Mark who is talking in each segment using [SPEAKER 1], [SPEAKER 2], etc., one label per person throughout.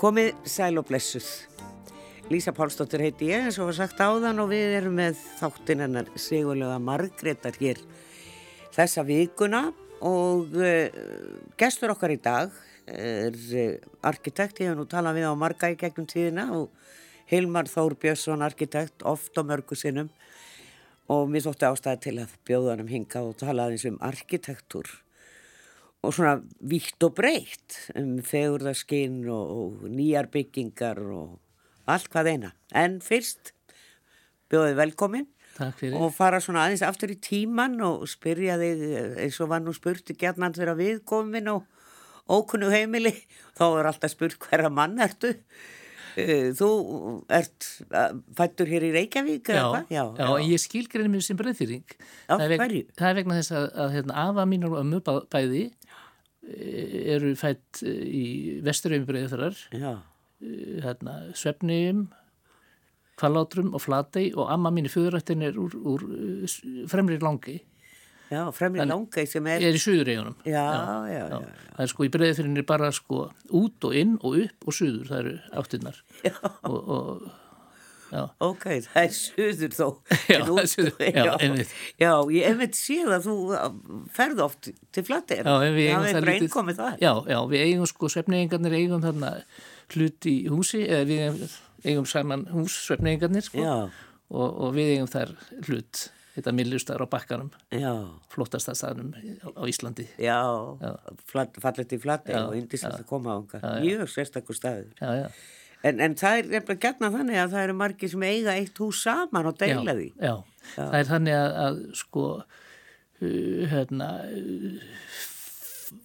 [SPEAKER 1] Komið sæl og blessuð. Lísa Pálsdóttir heiti ég eins og var sagt áðan og við erum með þáttinn hennar Sigurlega Margreðar hér þessa vikuna og uh, gestur okkar í dag er uh, arkitekt, ég hef nú talað við á marga í gegnum tíðina og Hilmar Þór Björnsson arkitekt oft á mörgu sinnum og mér þótti ástæði til að bjóðanum hinga og talaði eins um arkitektúr og svona vítt og breytt um fegurðaskinn og, og nýjar byggingar og allt hvað eina. En fyrst bjóðið velkomin
[SPEAKER 2] Takk fyrir.
[SPEAKER 1] og fara svona aðeins aftur í tíman og spyrja þig eh, eins og var nú spurt gerðan þegar við komin og ókunnu heimili, þá er alltaf spurt hverja mann ertu. Eh, Þú ert eh, fæddur hér í Reykjavík eða
[SPEAKER 2] Já,
[SPEAKER 1] hvað?
[SPEAKER 2] já, en ég skilgreinu mér sem breyðfyrring.
[SPEAKER 1] Af
[SPEAKER 2] það er veg-
[SPEAKER 1] hverju?
[SPEAKER 2] Það er vegna þess að, að hérna, afa mínur og ömmu bá- bæði e, eru fætt e, í vesturöfum breyðfyrrar,
[SPEAKER 1] já.
[SPEAKER 2] hérna, svefniðum, kvalátrum og flatei og amma mín í fjöðurættin er úr, úr e, s- fremri langi,
[SPEAKER 1] Já, fremri langei sem er,
[SPEAKER 2] er í suðureyjunum.
[SPEAKER 1] já, já, já,
[SPEAKER 2] Það er sko í breyðfyrrinni bara sko út og inn og upp og suður, það eru áttinnar. Já. Og, og
[SPEAKER 1] Ok, það er suður þó.
[SPEAKER 2] Já,
[SPEAKER 1] en
[SPEAKER 2] það er suður, já, einmitt.
[SPEAKER 1] Já, ég einmitt sé að þú uh, ferð oft til flattir.
[SPEAKER 2] Já, en við eigum
[SPEAKER 1] það
[SPEAKER 2] það
[SPEAKER 1] lítið. Það komið það.
[SPEAKER 2] Já, já, við eigum sko, svefneigingarnir eigum þarna hlut í húsi, eða við eigum, eigum saman hús, svefneigingarnir, sko.
[SPEAKER 1] Já.
[SPEAKER 2] Og, og við eigum þar hlut, þetta millustar á bakkanum,
[SPEAKER 1] Já,
[SPEAKER 2] flottasta staðnum á, á Íslandi.
[SPEAKER 1] já, flat, fallið til flattir og indislegt að koma á unga. Mjög sérstakur staður.
[SPEAKER 2] Já, já.
[SPEAKER 1] En, en það er nefnilega gætna þannig að það eru margir sem eiga eitt hús saman og deila því.
[SPEAKER 2] Já, það er þannig að, að sko, uh, hérna,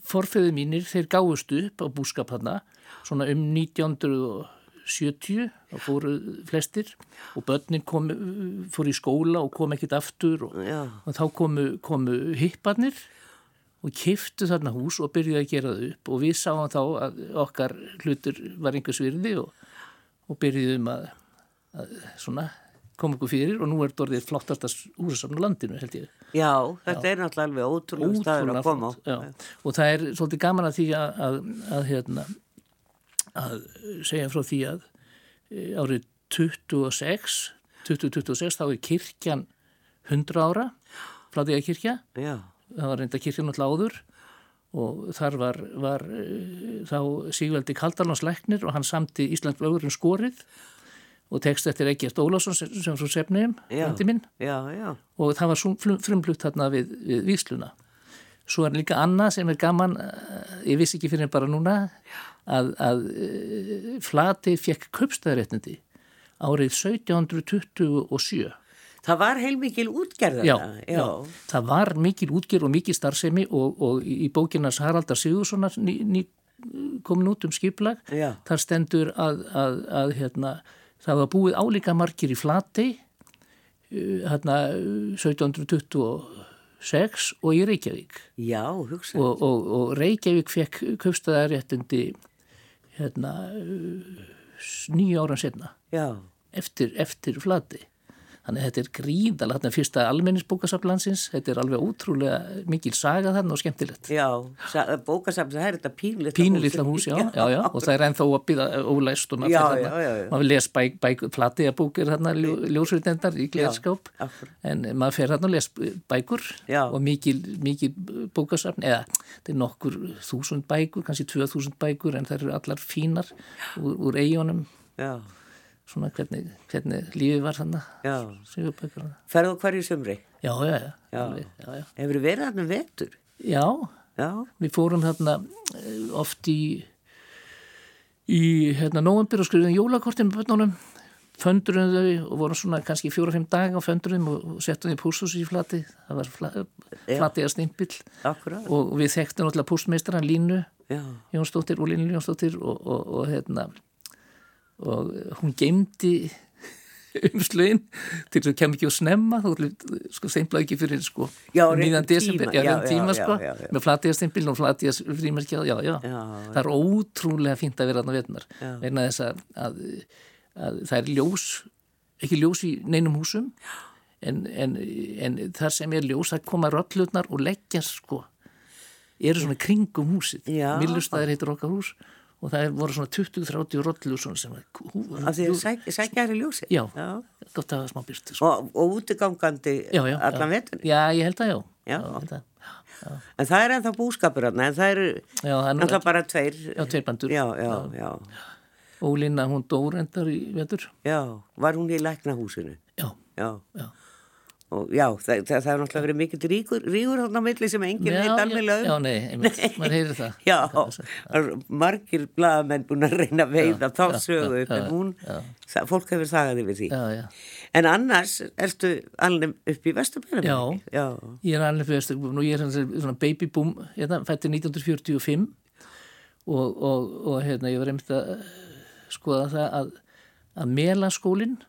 [SPEAKER 2] forfeyðu mínir, þeir gáðust upp á búskap hana, svona um 1970 og fóru flestir og börnin kom, uh, fóru í skóla og kom ekkit aftur og,
[SPEAKER 1] Já.
[SPEAKER 2] og þá komu, komu hipparnir og kiftu þarna hús og byrjuði að gera það upp og við sáum þá að okkar hlutur var einhvers virði og, og byrjuðum að, að svona koma okkur fyrir og nú er þetta orðið flottasta húsasamn á landinu held ég.
[SPEAKER 1] Já, þetta er náttúrulega alveg ótrúlega staður
[SPEAKER 2] Ótrúlega
[SPEAKER 1] að koma á.
[SPEAKER 2] flott, já. Og það er svolítið gaman að því að, að, að, hérna, að segja frá því að e, árið 26, 2026 þá er kirkjan 100 ára, flatiða kirkja
[SPEAKER 1] Já,
[SPEAKER 2] það var reynda kirkjan alltaf áður og þar var, var eh, þá Sigveldi Kaldalánslæknir og hann samti Íslands blöðurinn um skorið og tekst eftir Egert Ólásson sem, sem svo sefniðum,
[SPEAKER 1] Já.
[SPEAKER 2] hundi minn
[SPEAKER 1] já, já.
[SPEAKER 2] og það var sum- flum- frumlutt þarna við, við vísluna. Svo er líka annað sem er gaman, eh, ég vissi ekki fyrir en bara núna, að, að eh, Flati fekk kaupstæðaréttindi árið 1727
[SPEAKER 1] Það var heilmikil útgerðana.
[SPEAKER 2] já, já. það var mikil útgjör og mikil starfsemi og, og í bókinas Haraldar Sigurssonar ný, ný, komin út um skiplag
[SPEAKER 1] Já.
[SPEAKER 2] þar stendur að, að, að hérna, það var búið álíka margir í Flatey uh, hérna, uh, 1726 og í Reykjavík
[SPEAKER 1] Já, hugsa.
[SPEAKER 2] og, og, og Reykjavík fekk kaupstæðaréttindi hérna, nýja ára setna
[SPEAKER 1] Já,
[SPEAKER 2] eftir, eftir flati. Þannig að þetta er gríðalega, þetta er fyrsta almenningsbókasaflansins, þetta er alveg ótrúlega mikil saga þannig og skemmtilegt.
[SPEAKER 1] já, sa- eh, bókasafn, það er þetta pínlítla
[SPEAKER 2] Pínulítla hús, já, já, já, og það er ennþá að býða ólæst og maður
[SPEAKER 1] Já,
[SPEAKER 2] fer
[SPEAKER 1] já, já, já.
[SPEAKER 2] maður les bæk, bæk, platiða bókir þarna, ljó, ljósveitendar í gleðskáp,
[SPEAKER 1] akkurat.
[SPEAKER 2] en maður fer þarna og les bækur
[SPEAKER 1] Já.
[SPEAKER 2] og mikil, mikil bókasafn, eða þetta er nokkur þúsund bækur, kannski tvö þúsund bækur, en það eru allar fínar úr, úr eigunum,
[SPEAKER 1] Já,
[SPEAKER 2] svona hvernig, hvernig lífið var þannig,
[SPEAKER 1] já,
[SPEAKER 2] sigurbækur þannig.
[SPEAKER 1] ferðu á hverju sumri,
[SPEAKER 2] Já, já, já.
[SPEAKER 1] Já.
[SPEAKER 2] Alveg, já, já.
[SPEAKER 1] hefur verið þarna um vetur,
[SPEAKER 2] já,
[SPEAKER 1] já,
[SPEAKER 2] við fórum þarna eh, oft í, í hérna, november og skrifum jólakortin með bönnunum, föndurum þau og vorum svona kannski fjóra-fimm daga á föndurum og, og settum þau pústhús í flati, það var fla, flatiða stimpill
[SPEAKER 1] akkurat,
[SPEAKER 2] og við þekktum alltaf pústmeistran Línu
[SPEAKER 1] já,
[SPEAKER 2] Jónsdóttir og Línu Jónsdóttir og, og, og hérna og hún geymdi umslögin til þess að kem ekki og snemma þá ætlum- sko seimlaði ekki fyrir sko
[SPEAKER 1] Já,
[SPEAKER 2] um miðjan
[SPEAKER 1] réttum
[SPEAKER 2] desember,
[SPEAKER 1] tíma,
[SPEAKER 2] já,
[SPEAKER 1] já,
[SPEAKER 2] réttum
[SPEAKER 1] já,
[SPEAKER 2] tíma
[SPEAKER 1] já,
[SPEAKER 2] sko
[SPEAKER 1] já, já.
[SPEAKER 2] með flatiðastimpil og flatiðas frímerkjað já, já,
[SPEAKER 1] Já,
[SPEAKER 2] það er ótrúlega fínt að vera þarna vetnar, vegna þess að, að, að það er ljós ekki ljós í neinum húsum en, en, en þar sem er ljós það koma röllutnar og leggja sko eru svona kringum húsið
[SPEAKER 1] Já.
[SPEAKER 2] millustæðir heitur okkar hús og og það er- voru svona 20-30 rollu svona sem að
[SPEAKER 1] af því að sæk, sækja er í ljósi
[SPEAKER 2] Já. gott að hafa smá byrtu sko.
[SPEAKER 1] og, og útigangandi
[SPEAKER 2] já, já,
[SPEAKER 1] allan
[SPEAKER 2] já.
[SPEAKER 1] veturinn
[SPEAKER 2] já, ég held að já,
[SPEAKER 1] Já.
[SPEAKER 2] ég held að.
[SPEAKER 1] en það er ennþá búskapur hann en það eru
[SPEAKER 2] Já, það er nú-
[SPEAKER 1] ennþá bara tveir
[SPEAKER 2] Já, tveir bændur.
[SPEAKER 1] já, já, já,
[SPEAKER 2] Ólína hún dórendar í vetur
[SPEAKER 1] já, var hún í læknahúsinu
[SPEAKER 2] já,
[SPEAKER 1] já,
[SPEAKER 2] já
[SPEAKER 1] og já það, það, það er náttúrulega verið mikill ríkur ríkur þarna á milli sem enginn veit alveg
[SPEAKER 2] já,
[SPEAKER 1] um
[SPEAKER 2] nei, einmitt, maður heyrir það
[SPEAKER 1] já, það eru margir blaðamenn búin að reyna að veiða þá
[SPEAKER 2] já,
[SPEAKER 1] sögu
[SPEAKER 2] já,
[SPEAKER 1] upp en
[SPEAKER 2] já,
[SPEAKER 1] hún,
[SPEAKER 2] já.
[SPEAKER 1] það, fólk hefur sagðið yfir því
[SPEAKER 2] já, já
[SPEAKER 1] en annars ertu alveg upp í Vesturbænum
[SPEAKER 2] Já.
[SPEAKER 1] ekki? já,
[SPEAKER 2] Ég er alveg fyrir Vesturbúm og ég er hans- svona babyboom, hérna, fætti 1945 og, og, og hérna, ég var einmitt að eh, skoða það að, að melaskólinn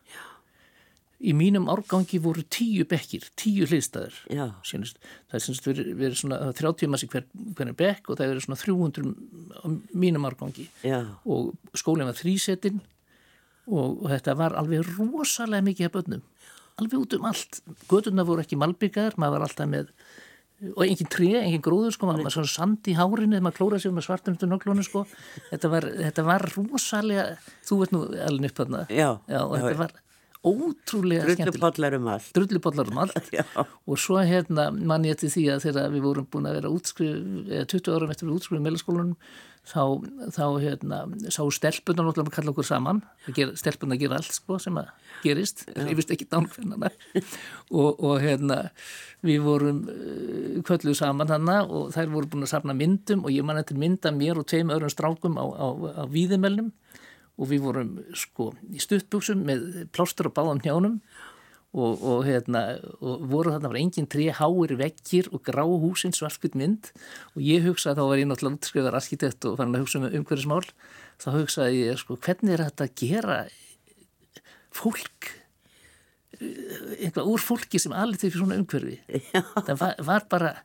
[SPEAKER 2] í mínum árgangi voru tíu bekkir, tíu hliðstæður.
[SPEAKER 1] já,
[SPEAKER 2] Sýnist, það er sýnist verið, verið svona það er 30 massi hver, hvernig bekk og það eru svona 300 á mínum árgangi
[SPEAKER 1] já
[SPEAKER 2] og skólinn var þrísettinn og, og þetta var alveg rosalega mikið af börnum, alveg út um allt gödurna voru ekki malbyggar, maður var alltaf með og engin tré, engin gróður sko, maður var svona sand í hárinu þegar maður klóraði sig með svartum undir noklónu sko þetta var, þetta var rosalega þú veit nú alveg upp þarna
[SPEAKER 1] Já,
[SPEAKER 2] og
[SPEAKER 1] já, já.
[SPEAKER 2] þetta var ótrúlega skemmtilegt
[SPEAKER 1] Rullupollar um allt
[SPEAKER 2] drullubollar um allt
[SPEAKER 1] Já.
[SPEAKER 2] og svo hérna mann ég til því að þegar við vorum búin að vera útskrif eða 20 árum eftir við útskrifum meðlaskólanum þá, þá hérna sá stelpunna náttúrulega að kalla okkur saman Það gera- stelpunna gera allt sko sem að gerist ég vist ekki dánkvennana og, og hérna við vorum uh, kölluð saman hana og þær voru búin að safna myndum og ég man eftir mynda mér og tveim öðrum strákum á, á, á víðimelnum og við vorum sko í stuttbuksum með plástur á báðum hjánum og, og, hérna, og voru þarna var engin tré háir vekkir og grá húsin svartkvitt mynd og ég hugsaði þá var ég náttúrulega útskrifar arkitekt og fann að hugsa um umhverfismál þá hugsaði ég sko hvernig er þetta að gera fólk eh, eitthvað úr fólki sem alveg til fyrir svona umhverfi það var, var bara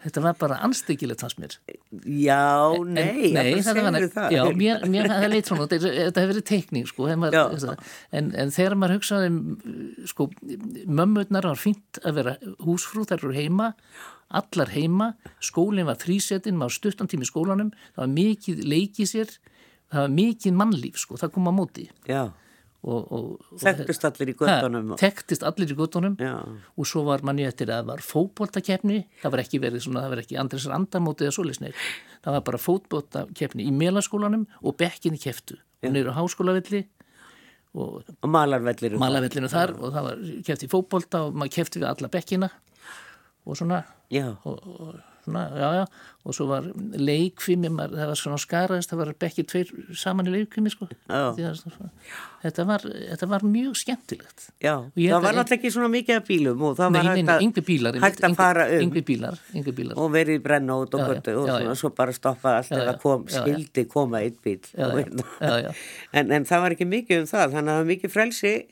[SPEAKER 2] þetta var bara anstekilegt hans mér
[SPEAKER 1] Já, nei,
[SPEAKER 2] nei,
[SPEAKER 1] nei
[SPEAKER 2] þetta var
[SPEAKER 1] það, það.
[SPEAKER 2] Já, mér, mér það leitt svona, út, þetta þetta hefur verið teikning sko, en,
[SPEAKER 1] Já.
[SPEAKER 2] maður, þess að- en, en þegar maður hugsaði um, sko, mömmurnar var fínt að vera húsfrú, þær eru heima allar heima, skólinn var þrísettinn, maður stuttan tími í skólanum það var mikið leikið sér það var mikið mannlíf, sko, það kom á móti
[SPEAKER 1] Já,
[SPEAKER 2] og, og, og
[SPEAKER 1] þekktust allir í göttunum.
[SPEAKER 2] Ha, Þekktist allir í göttunum
[SPEAKER 1] Já.
[SPEAKER 2] og svo var manni eftir að það var fótboltakefni, það var ekki verið svona, það var ekki Andrés Randamóti eða svolisnei, það var bara fótboltakefni í melaskólanum og bekkinni keftu og niður á háskólavelli og
[SPEAKER 1] Og malarvellir. um
[SPEAKER 2] malavellinu þar og það var kefti í fótbolta og maður kefti við alla bekkina og svona
[SPEAKER 1] Já,
[SPEAKER 2] og, og, svona, já, já, og svo var leikfimi, maður, það var svona skaraðist það var bekkir tveir saman í leikfimi sko.
[SPEAKER 1] Já.
[SPEAKER 2] Því það var svona- þetta, var, þetta var mjög skemmtilegt
[SPEAKER 1] já.
[SPEAKER 2] ég held
[SPEAKER 1] Það var
[SPEAKER 2] að-
[SPEAKER 1] náttúrulega ekki svona mikið af bílum og það
[SPEAKER 2] Nei,
[SPEAKER 1] var
[SPEAKER 2] ég meina, yngvi bílar einmitt,
[SPEAKER 1] hægt að
[SPEAKER 2] yngvi-
[SPEAKER 1] fara um
[SPEAKER 2] yngvi bílar, yngvi bílar.
[SPEAKER 1] og verið í brennót og
[SPEAKER 2] Já, já,
[SPEAKER 1] göttu og
[SPEAKER 2] já,
[SPEAKER 1] svona,
[SPEAKER 2] já.
[SPEAKER 1] svo bara stoppa allt
[SPEAKER 2] Já,
[SPEAKER 1] eða
[SPEAKER 2] já,
[SPEAKER 1] kom,
[SPEAKER 2] já, já.
[SPEAKER 1] skildi koma einn bíl.
[SPEAKER 2] Já, já, já, já.
[SPEAKER 1] hérna. En, en það var ekki mikið um það, þannig að það var mikið frelsi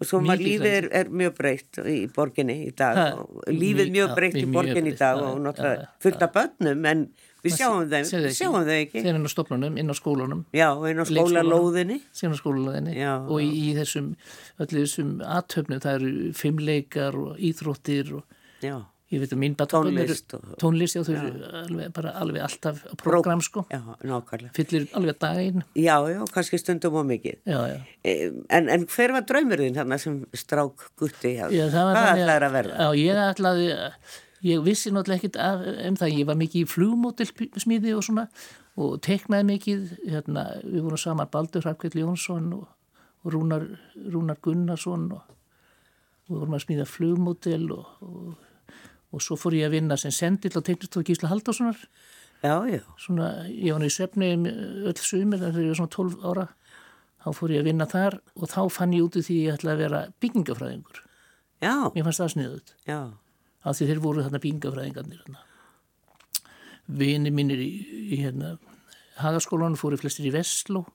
[SPEAKER 1] og svo maður
[SPEAKER 2] Mikið
[SPEAKER 1] lífið er, er mjög breytt í borginni í dag.
[SPEAKER 2] Ha,
[SPEAKER 1] og lífið
[SPEAKER 2] mjög-
[SPEAKER 1] mjög
[SPEAKER 2] já,
[SPEAKER 1] breytt í
[SPEAKER 2] mjög
[SPEAKER 1] borginni í
[SPEAKER 2] breytt,
[SPEAKER 1] dag
[SPEAKER 2] já,
[SPEAKER 1] og
[SPEAKER 2] já, já,
[SPEAKER 1] náttúrulega
[SPEAKER 2] já.
[SPEAKER 1] fullt af börnum en við sjáum þeim,
[SPEAKER 2] Sér
[SPEAKER 1] við sjáum þeim ekki.
[SPEAKER 2] þeir inn á stofnunum, inn á skólunum
[SPEAKER 1] Já, einn á skólalóðinni.
[SPEAKER 2] síðan á skólaðinni
[SPEAKER 1] Já,
[SPEAKER 2] og í, í þessum öllu þessum aðtöfnum það eru fimmleikar og íþróttir og
[SPEAKER 1] Já,
[SPEAKER 2] ég veit að mín badabörn eru-
[SPEAKER 1] Tónlist og-
[SPEAKER 2] tónlist já, þau eru alveg, bara alveg alltaf á program sko,
[SPEAKER 1] já, nákvæmlega.
[SPEAKER 2] fyllir alveg daginn
[SPEAKER 1] Já, já, kannski stundum og mikið.
[SPEAKER 2] já, já
[SPEAKER 1] Em, En, en hver var draumurinn þarna sem strák gutti hjá?
[SPEAKER 2] Já, það var
[SPEAKER 1] Hvað
[SPEAKER 2] þannig
[SPEAKER 1] ætlaðir að verða?
[SPEAKER 2] Já, ég ætlaði, ég vissi náttúrulega ekkit af, um það, ég var mikið í flugmótilsmíði og svona og teknaði mikið, hérna, við vorum saman Baldur Hrafkveld Jónsson og, og Rúnar, Rúnar Gunnarsson og og við vorum að smíða flugmótil og, og, og svo fór ég að vinna sem sendill á teknistóð Gísla Halldórssonar
[SPEAKER 1] Já, já,
[SPEAKER 2] svona, ég var nú í svefni um öll sumir þegar ég var svona 12 ára þá fór ég að vinna þar og þá fann ég út í því að ég ætlaði að vera byggingafræðingur
[SPEAKER 1] já,
[SPEAKER 2] mér fannst það sniðut
[SPEAKER 1] já,
[SPEAKER 2] af því þeir voru þarna bíngafræðingarnir þarna. Vini mínir í, í hérna, hagaskólanum fóru flestir í Vestló.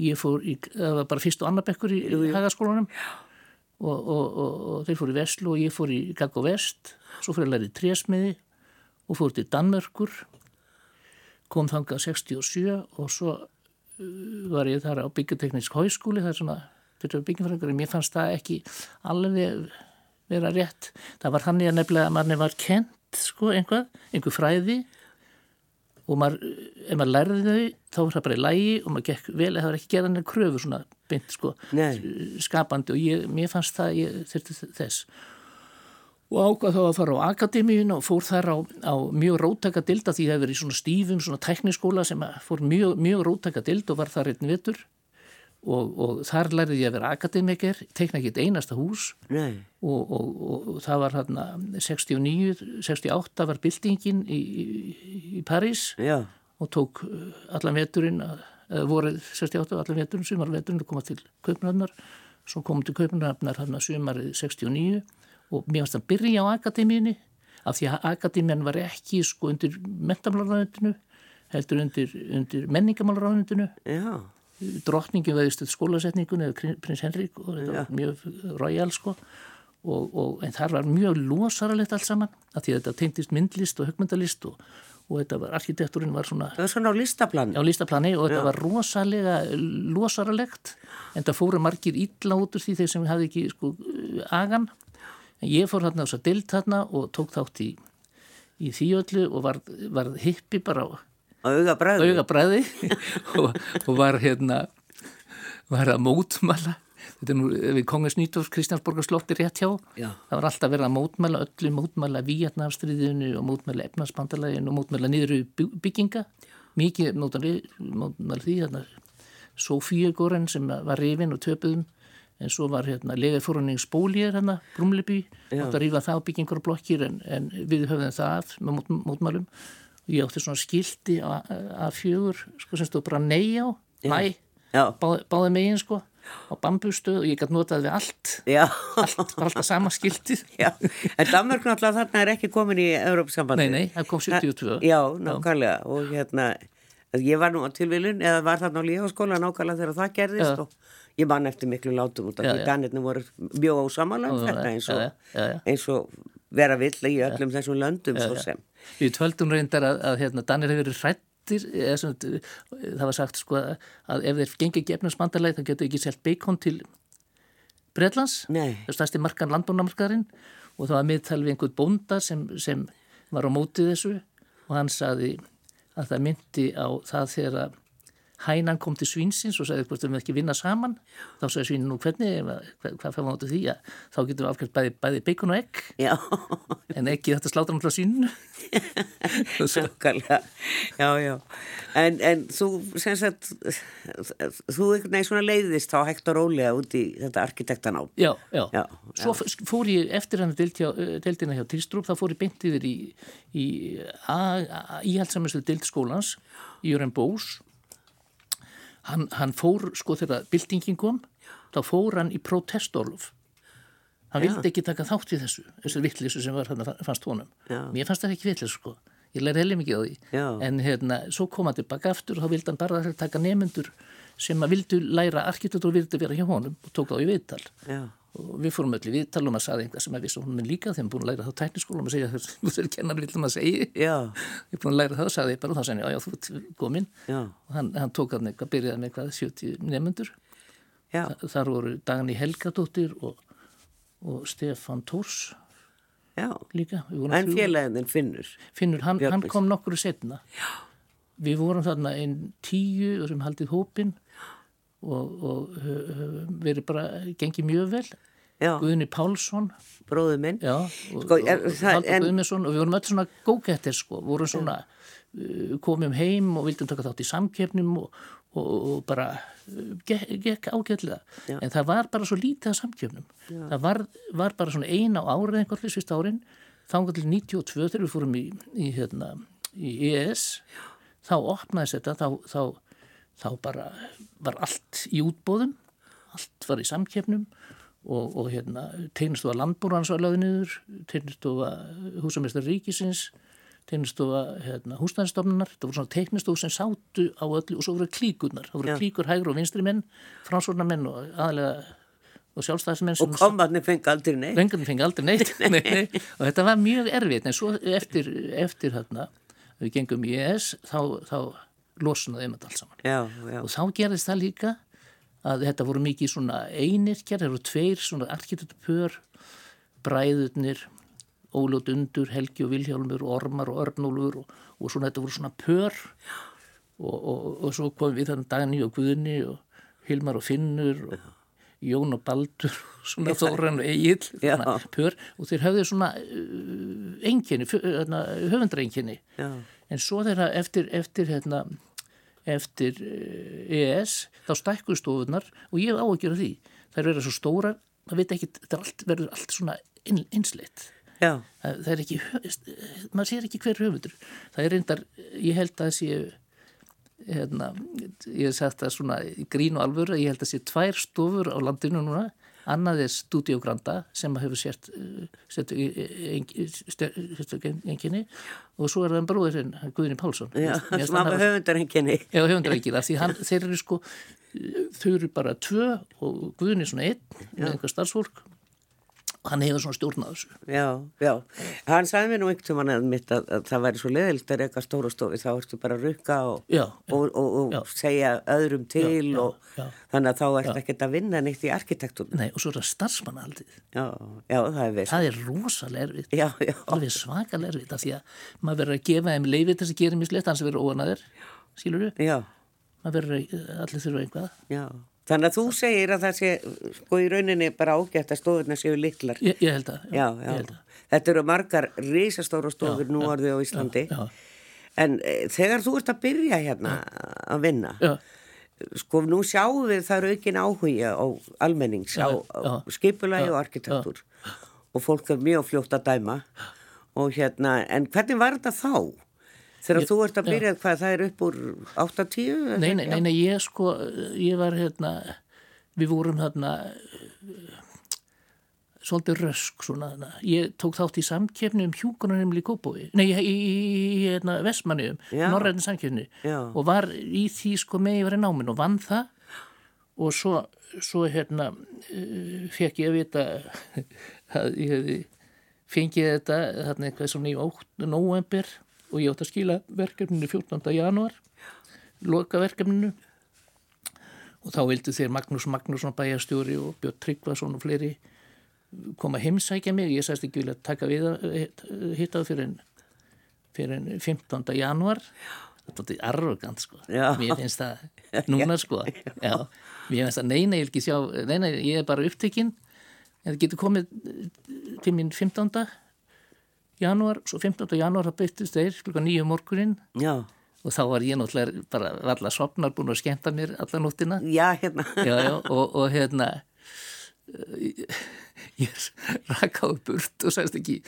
[SPEAKER 2] Ég fór í, það var bara fyrst og annar bekkur í jú, hagaskólanum og, og, og, og þeir fóru í Vestló og ég fór í Gaggo Vest, svo fyrir að læri trésmiði og fór til Danmörkur, kom þangað 67 og svo uh, var ég þar á byggjarteknisk háskúli, það er svona fyrir byggjumfræðingar, mér fannst það ekki alveg vera rétt. Það var þannig að nefnilega að manni var kent, sko, einhvað, einhver fræði og maður, ef maður lærði þau þá var það bara í lægi og maður gekk vel eða það var ekki gerðan en kröfu svona beint sko
[SPEAKER 1] Nei.
[SPEAKER 2] skapandi og ég, mér fannst það ég þurfti þess og ákvað þá að fara á akademíun og fór þar á, á mjög rótaka dilda því það hefur verið í svona stífum, svona tekniskóla sem að fór mjög, mjög rótaka dild og var þar einn vetur og, og þar lærði ég að vera akademiker tekna ekki eitt einasta hús
[SPEAKER 1] nei,
[SPEAKER 2] og, og, og, og það var hérna 69, 68 var byltingin í, í, í París
[SPEAKER 1] já,
[SPEAKER 2] og tók uh, allan veturinn að- eh, eða voruð 68 allan veturinn, sumarveturinn að koma til Kaupnöfnar svo komum til Kaupnöfnar hérna sumarið 69 og mér fannst að byrja á akademíunni af því að akademíun var ekki sko undir mentamálraðundinu heldur undir, undir menningamálraðundinu
[SPEAKER 1] já,
[SPEAKER 2] drottningin veðist skólasetningun eða krin- prins Henrik og þetta var mjög royal sko og, og, en þar var mjög losaralegt allt saman af því að þetta tengdist myndlist og högmyndalist og, og þetta var, arkitekturinn var svona
[SPEAKER 1] það var svona á listaplan
[SPEAKER 2] á listaplani og þetta var rosalega losaralegt en það fóru margir illa út úr því þeir sem hafði ekki sko agan en ég fór þarna á þess að dild þarna og tók þátt í, í því öllu og var, var hippi bara á
[SPEAKER 1] á augabræðu,
[SPEAKER 2] augabræði og, og var hérna var að mótmæla þetta er nú við Kongens Nýtofs Kristjánsborgar slótti rétt hjá
[SPEAKER 1] Já.
[SPEAKER 2] það var alltaf verið að mótmæla öllu mótmæla Víatnafstriðinu og mótmæla efnarsbandalæginu og mótmæla niðru bygginga mikið mótmæla, mótmæla því hérna Sofíugóren sem var rifin og töpuðum en svo var hérna legarfórunnings bólýjar hérna, Brumleby átt að rífa það á byggingar og blokkir en, en við höfðum það af með mót, mótmælum og ég átti svona skildi að fjögur sko sem stóð bara nei á, næ
[SPEAKER 1] já,
[SPEAKER 2] báð, báði megin sko á bambustöð og ég gæti notað við allt
[SPEAKER 1] já,
[SPEAKER 2] allt, bara alltaf sama skildið
[SPEAKER 1] já, en Danmark náttúrulega þarna er ekki komin í Európsambandi
[SPEAKER 2] nei, nei, það kom 72
[SPEAKER 1] Já, nákvæmlega og hérna, að ég var nú á tilvílun eða var þarna á lífaskóla nákvæmlega þegar það gerðist
[SPEAKER 2] Já.
[SPEAKER 1] og ég man eftir miklu látum út af því danirni voru mjög ósamalega
[SPEAKER 2] Já,
[SPEAKER 1] þetta
[SPEAKER 2] já,
[SPEAKER 1] eins
[SPEAKER 2] já,
[SPEAKER 1] og,
[SPEAKER 2] já, já.
[SPEAKER 1] eins og vera vill í öllum þessum löndum svo sem.
[SPEAKER 2] Við töldum reyndar að, að hérna, Danir hefur verið hrættir eða, sem, það var sagt sko að, að ef þeir gengi ekki efnarsmandarlega þá getur ekki selt bacon til Breitlands
[SPEAKER 1] Nei.
[SPEAKER 2] það stærsti markan landbúnamarkaðurinn og það var miðtal við einhvern bónda sem, sem var á mótið þessu og hann saði að það myndi á það þegar að hænan kom til svínsins og sagði hvort við ekki vinna saman þá sagði svínin nú hvernig, ef að- hvað, hvað fæmum áttu því að þá getum við afkvæmt bæði, bæði bacon og egg
[SPEAKER 1] Já,
[SPEAKER 2] en ekki þetta slátra hann frá síninu
[SPEAKER 1] nákvæmlega, já, já. En, en þú, sem sagt, þú einhvern veginn svona leiðist þá hægt og rólega út í þetta arkitektan á.
[SPEAKER 2] já, já,
[SPEAKER 1] Já,
[SPEAKER 2] svo f- fór ég eftir hann deildina hjá Tilstrup þá fór ég beint yfir í, í íhaldsamenslu deildskólans Jörn Bós hann, hann fór sko þegar byltingin kom þá fór hann í protestorluf hann vildi ekki taka þátt í þessu þessu vittlísu sem var hann fannst honum
[SPEAKER 1] Já.
[SPEAKER 2] mér fannst það ekki vittlísu sko ég lærði heilig mikið á því
[SPEAKER 1] Já.
[SPEAKER 2] en hérna, svo kom hann tilbaka aftur og þá vildi hann bara taka nefnendur sem að vildu læra arkitektur og vildi vera hjá honum og tók þá í viðtal
[SPEAKER 1] Já,
[SPEAKER 2] og við fórum öll í viðtal og maður saði einhvað sem að vissi hún er líka þeim búin að læra það á tækniskóla og maður segja þú þeir kennar vilja maður um segja
[SPEAKER 1] já,
[SPEAKER 2] ég er búin að læra það og saði ég bara og þá sagði hann já já þú ert komin
[SPEAKER 1] já,
[SPEAKER 2] og hann, hann tók hann eitthvað byrjaði með eitthvað 70 nefnendur
[SPEAKER 1] já,
[SPEAKER 2] þar voru Dagni Helgadóttir og, og Stefan Tórs
[SPEAKER 1] já.
[SPEAKER 2] líka Við vorum
[SPEAKER 1] En
[SPEAKER 2] þrjú.
[SPEAKER 1] félagin finnur.
[SPEAKER 2] Finnur, hann,
[SPEAKER 1] Björn
[SPEAKER 2] hann
[SPEAKER 1] Björns.
[SPEAKER 2] kom nokkru setna. Við vorum þarna einn tíu sem haldið hópin og, og hö- hö- verið bara, gengið mjög vel.
[SPEAKER 1] Já,
[SPEAKER 2] Guðni Pálsson,
[SPEAKER 1] bróðu minn.
[SPEAKER 2] já, og,
[SPEAKER 1] Sko,
[SPEAKER 2] og,
[SPEAKER 1] er-
[SPEAKER 2] og
[SPEAKER 1] það-
[SPEAKER 2] Haldur
[SPEAKER 1] en-
[SPEAKER 2] Guðmesson og við vorum öll svona gókettir sko, vorum svona, uh, komum heim og vildum taka þátt í samkeppnum og, og, og bara uh, gekk, gekk ágætlega. En það var bara svo lítið af samkeppnum. Það var, var bara svona eina á árið einhvern veginn sýst árin, þangar til 92 þegar við fórum í, í, hérna, í ES, þá opnaðis þetta, þá, þá, þá bara var allt í útbóðum, allt var í samkeppnum og, og hérna, tegnistofa landbúrans var lögð niður, tegnistofa húsamestari ríkisins, tegnistofa hérna, húsnæðistofnunar, þetta voru svona tegnistofa sem sátu á öllu og svo voru klíkurnar, það voru klíkur hægur og vinstri menn, fransvornar menn og aðalega og sjálfstæðismenn sem
[SPEAKER 1] Kombarnir fengi aldrei neitt.
[SPEAKER 2] Vengarnir fengi aldrei neitt nei, nei. og þetta var mjög erfitt en svo eftir, eftir hérna við gengum í ES þá, þá losnaði um þetta allt saman
[SPEAKER 1] Já, já,
[SPEAKER 2] og þá gerðist það líka að þetta voru mikið svona einirkjar, það voru tveir svona arkitekturpör, bræðurnir Óljótt Undur, Helgi og Vilhjálmur og Ormar og Örnúlfur og, og svona þetta voru svona pör og, og, og svo kom við þannig Dani og Guðni og Hilmar og Finnur og Jón og Baldur og svona Þóran og Egil
[SPEAKER 1] Já.
[SPEAKER 2] svona pör og þeir höfðu svona uh, enginni, hérna, höfundraenginni
[SPEAKER 1] Já.
[SPEAKER 2] en svo þeirra eftir, eftir hérna eftir eh, EES þá stækkuðu stofunar og ég hef áhyggjur af því þær verða svo stórar maður veit ekki, þetta er allt, verður allt svona inn, einsleitt
[SPEAKER 1] já,
[SPEAKER 2] það, það er ekki, hö- maður sér ekki hver höfundur það er reyndar, ég held að það sé hérna, ég hef sagt það svona í grín og alvöru, ég held að sé tvær stofur á landinu núna, annað er Studio Granda sem hefur sért eh, sett enginni og svo er það en bróðurinn Guðni Pálsson
[SPEAKER 1] já,
[SPEAKER 2] Mér finnst
[SPEAKER 1] sem
[SPEAKER 2] hann
[SPEAKER 1] hafa
[SPEAKER 2] hafa-
[SPEAKER 1] höfundarenginni.
[SPEAKER 2] Já, höfundar ekki það, því hann, þeir eru sko, þau eru bara tvö og Guðin er svona einn með einhver starfsfólk og hann hefur svona stjórn á þessu.
[SPEAKER 1] Já, já. Hann sagði mér nú einhvern tímann að mitt að, að það væri svo leðilt að reyka stóra stofi, þá ertu bara að rukka og,
[SPEAKER 2] Já,
[SPEAKER 1] og, og,
[SPEAKER 2] Já.
[SPEAKER 1] og segja öðrum til
[SPEAKER 2] já,
[SPEAKER 1] og
[SPEAKER 2] já.
[SPEAKER 1] þannig að þá ertu ekkert að vinna neitt í arkitektúrnum.
[SPEAKER 2] nei, og svo er það starfsmannahaldið.
[SPEAKER 1] Já, já, það er veist.
[SPEAKER 2] Það er rosalega erfitt,
[SPEAKER 1] Já, já,
[SPEAKER 2] alveg svakalega erfitt af því að maður verður að gefa þeim leifið þess að gera mislegt, hans verður óanaðir, skilur du?
[SPEAKER 1] já,
[SPEAKER 2] Maður verður, að- eh, allir þurfa einhvað.
[SPEAKER 1] já. Þannig að þú segir að það sé, sko í rauninni bara ágætt að stofurnar séu litlar.
[SPEAKER 2] Ég, ég held að,
[SPEAKER 1] Já,
[SPEAKER 2] ég
[SPEAKER 1] já.
[SPEAKER 2] held að.
[SPEAKER 1] Þetta eru margar risastóra stofur nú orðið á Íslandi.
[SPEAKER 2] já.
[SPEAKER 1] En e, þegar þú ert að byrja hérna að vinna,
[SPEAKER 2] Já,
[SPEAKER 1] sko nú sjáum við það er aukin áhugja á almennings á, á
[SPEAKER 2] já.
[SPEAKER 1] skipulagi og arkitektur og fólk er mjög fljótt að dæma og hérna, en hvernig var þetta þá? Þegar þú ert að byrja hvað það er upp úr 8-10?
[SPEAKER 2] nei, nei, nei, nei, ég sko, ég var hérna, við vorum hérna, svolítið rösk svona, hérna. ég tók þátt í samkefni um hjúkunarheimli í Kópói, nei, í, í, í hérna, Vestmanniðum,
[SPEAKER 1] Já.
[SPEAKER 2] norræðin samkefni
[SPEAKER 1] Já.
[SPEAKER 2] og var í því sko með ég var í náminu og vann það og svo, svo hérna fekk ég að vita að ég hefði fengið þetta þarna eitthvað svona í ótt november og ég átt að skila verkefninu 14. januar loka verkefninu og þá vildu þeir Magnús Magnússon bæjarstjóri og Björn Tryggvason og fleiri koma að heimsækja mig ég sæst ekki vilja taka við að hitta það fyrir en, fyrir en 15. januar þetta er arrogant sko
[SPEAKER 1] Já.
[SPEAKER 2] mér finnst það núna sko já, mér finnst það neina ég vil ekki sjá neina ég er bara upptekinn en það getur komið eh, til mín 15. januar svo 15. januar það byrtist þeir klukka nýju morgunin
[SPEAKER 1] Já,
[SPEAKER 2] og þá var ég náttúrulega bara varla sopnar búin að skemmta mér alla nóttina
[SPEAKER 1] já, hérna,
[SPEAKER 2] já, já, og, og hérna eh, ég rakaði burt og sagðist ekki